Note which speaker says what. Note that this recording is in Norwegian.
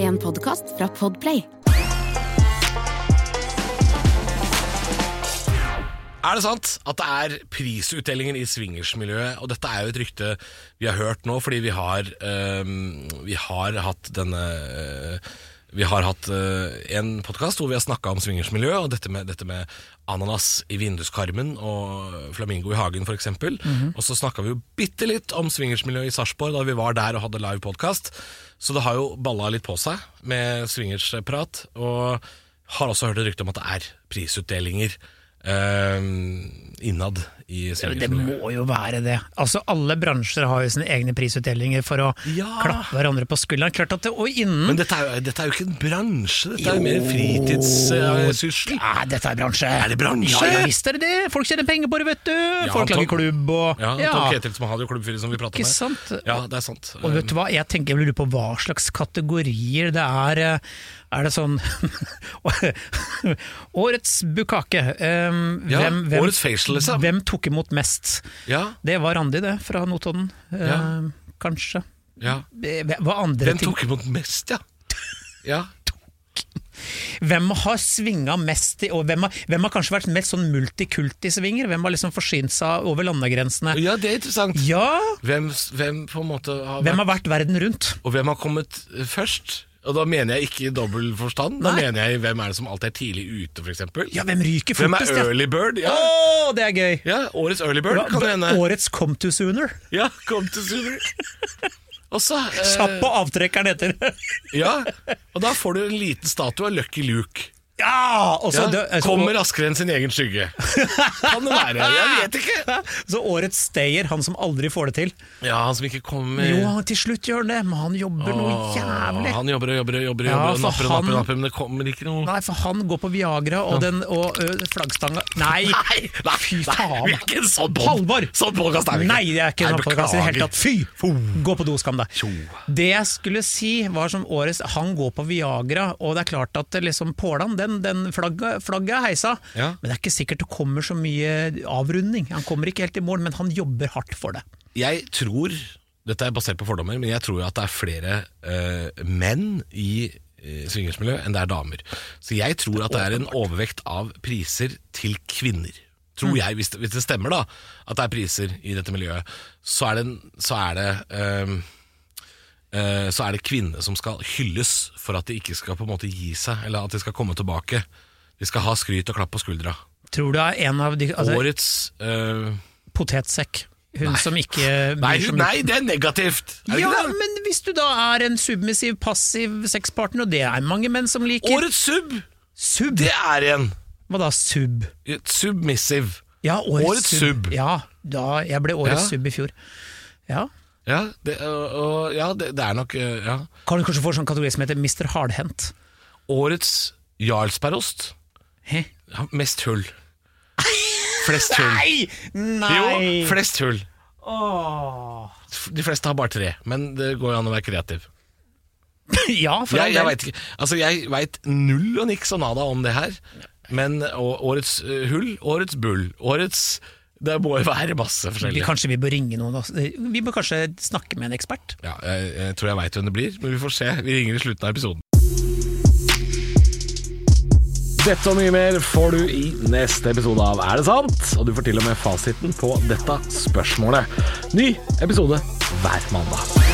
Speaker 1: en podkast fra Podplay.
Speaker 2: Er det sant at det er prisutdelingen i swingersmiljøet? Og dette er jo et rykte vi har hørt nå, fordi vi har, øhm, vi har hatt denne øh, Vi har hatt øh, en podkast hvor vi har snakka om swingersmiljø, og dette med, dette med ananas i vinduskarmen og flamingo i hagen, f.eks. eksempel Og så snakka vi jo bitte litt om swingersmiljøet i Sarpsborg da vi var der og hadde live podkast. Så det har jo balla litt på seg med swingersprat, og har også hørt et rykte om at det er prisutdelinger eh, innad i
Speaker 3: Ja, men Det
Speaker 2: swingersmiljøet.
Speaker 3: må jo være det. Altså, Alle bransjer har jo sine egne prisutdelinger for å
Speaker 2: Ja.
Speaker 3: klappe hverandre på skulderen. Klart at det, Og
Speaker 2: Men
Speaker 3: innen
Speaker 2: dette er, jo, dette er jo ikke en bransje, dette er jo mer en fritidssyssel.
Speaker 3: Ja, dette er bransje.
Speaker 2: Er det bransje?
Speaker 3: Ja, ja, visst er det det! Folk tjener penger på det, vet du! Folk
Speaker 2: Tom-
Speaker 3: lager klubb og
Speaker 2: ja,
Speaker 3: Ja.
Speaker 2: Tom Ketil som hadde jo klubbfyr som vi prata
Speaker 3: Ikke
Speaker 2: med.
Speaker 3: sant?
Speaker 2: Ja, det er sant.
Speaker 3: Og vet du hva, jeg tenker jeg lurer på hva slags kategorier det er. eh, Er det sånn Årets bukake. Um,
Speaker 2: Eh, Ja, årets facial, liksom.
Speaker 3: Hvem tok imot mest?
Speaker 2: Ja,
Speaker 3: Det var Randi, det, fra Notodden. Eh,
Speaker 2: Ja.
Speaker 3: Kanskje.
Speaker 2: ja.
Speaker 3: Eh, Hva andre
Speaker 2: Hvem
Speaker 3: ting
Speaker 2: tok imot mest, ja? Ja,
Speaker 3: Hvem har svinga mest i Og hvem har, hvem har kanskje vært mest sånn multikulti-svinger? Hvem har liksom forsynt seg over landegrensene?
Speaker 2: ja det er interessant.
Speaker 3: Ja!
Speaker 2: Hvem, s- hvem på en måte har vært
Speaker 3: Hvem har vært verden rundt?
Speaker 2: Og hvem har kommet eh, først? Og da mener jeg ikke i dobbel forstand. Da
Speaker 3: Nei.
Speaker 2: mener jeg hvem er det som alltid er tidlig ute, f.eks.
Speaker 3: Ja, hvem ryker
Speaker 2: Hvem
Speaker 3: fortest?
Speaker 2: er early bird?
Speaker 3: Ja.
Speaker 2: Ja.
Speaker 3: Å, det er gøy!
Speaker 2: ja, årets early bird kan det hende.
Speaker 3: Årets come to sooner.
Speaker 2: Ja, kom til Sudre. Og så eh,
Speaker 3: Kjapp på avtrekkeren etter.
Speaker 2: Ja, og da får du en liten statue av Lucky Luke.
Speaker 3: ja! Og så,
Speaker 2: Ja,
Speaker 3: dø- eh, så,
Speaker 2: kommer raskere enn sin egen skygge. Kan det være? Jeg vet ikke.
Speaker 3: så årets stayer, han som aldri får det til.
Speaker 2: Ja, han som ikke kommer
Speaker 3: Jo, han til slutt gjør han det, men han jobber noe
Speaker 2: Åh,
Speaker 3: jævlig.
Speaker 2: Han jobber og jobber og jobber, og
Speaker 3: Ja,
Speaker 2: jobber og
Speaker 3: for
Speaker 2: napper og napper, og
Speaker 3: han-
Speaker 2: napper, men det kommer ikke noe
Speaker 3: Nei, for han går på Viagra og, den, og ø, flaggstanga Nei! Fy faen!
Speaker 2: vi er ikke en sånn pod-
Speaker 3: Halvor!
Speaker 2: Sånn podcast er vi ikke.
Speaker 3: Nei, det er ikke en
Speaker 2: Nei,
Speaker 3: sånn podcast i det hele
Speaker 2: beklager.
Speaker 3: tatt. Fy! Gå på do, skam deg.
Speaker 2: Tjo.
Speaker 3: Det jeg skulle si, var som årets Han går på Viagra, og det er klart at det liksom Pålan, den, den flagget, flagget er heisa,
Speaker 2: Ja.
Speaker 3: men det er ikke sikkert det kommer så mye avrunding. Han kommer ikke helt i mål, men han jobber hardt for det.
Speaker 2: Jeg tror, dette er basert på fordommer, men jeg tror jo at det er flere eh, menn i uh, swingersmiljø enn det er damer. Så jeg tror at det er en overvekt av priser til kvinner.
Speaker 3: Mm.
Speaker 2: Tror jeg, hvis det, hvis det stemmer da, at det er priser i dette miljøet, så er det, en- så er det eh, eh, så er det kvinnene som skal hylles for at de ikke skal på en måte gi seg, eller at de skal komme tilbake. De skal ha skryt og klapp på skuldra.
Speaker 3: Tror du er en av de altså,
Speaker 2: Årets eh,
Speaker 3: Potetsekk. Hun som ikke
Speaker 2: nei,
Speaker 3: bryr seg om-
Speaker 2: nei, det er negativt! Er det
Speaker 3: Ja,
Speaker 2: ikke det?
Speaker 3: men hvis du da er en submissiv, passiv sexpartner, og det er mange menn som liker
Speaker 2: Årets sub,
Speaker 3: Sub?
Speaker 2: det er en
Speaker 3: Hva da, sub?
Speaker 2: submissiv.
Speaker 3: Ja, årets,
Speaker 2: Årets sub.
Speaker 3: Ja, da, jeg ble årets
Speaker 2: Ja.
Speaker 3: sub i fjor. Ja.
Speaker 2: Ja, det, og, og, ja, det, det er nok øh, ja.
Speaker 3: Kan du kanskje få en sånn kategori som heter Mr. Hardhendt?
Speaker 2: Årets jarlsbergost.
Speaker 3: Hæ?
Speaker 2: Ja, mest hull. Flest hull.
Speaker 3: Nei! Nei!
Speaker 2: Jo, flest hull. De fleste har bare tre, men det går jo an å være kreativ.
Speaker 3: ja, for
Speaker 2: Jeg,
Speaker 3: all
Speaker 2: jeg
Speaker 3: del.
Speaker 2: veit ikke Altså, jeg veit null og niks og nada om det her, men og, årets øh, hull, årets bull, årets Det må jo være masse
Speaker 3: Vi,
Speaker 2: forskjellige.
Speaker 3: kanskje vi bør ringe noen også. Vi bør kanskje snakke med en ekspert.
Speaker 2: Ja, jeg, jeg tror jeg veit hvem det blir, men vi får se. Vi ringer i slutten av episoden.
Speaker 4: Dette og mye mer får du i neste episode av Er det sant? Og du får til og med fasiten på dette spørsmålet. Ny episode hver mandag.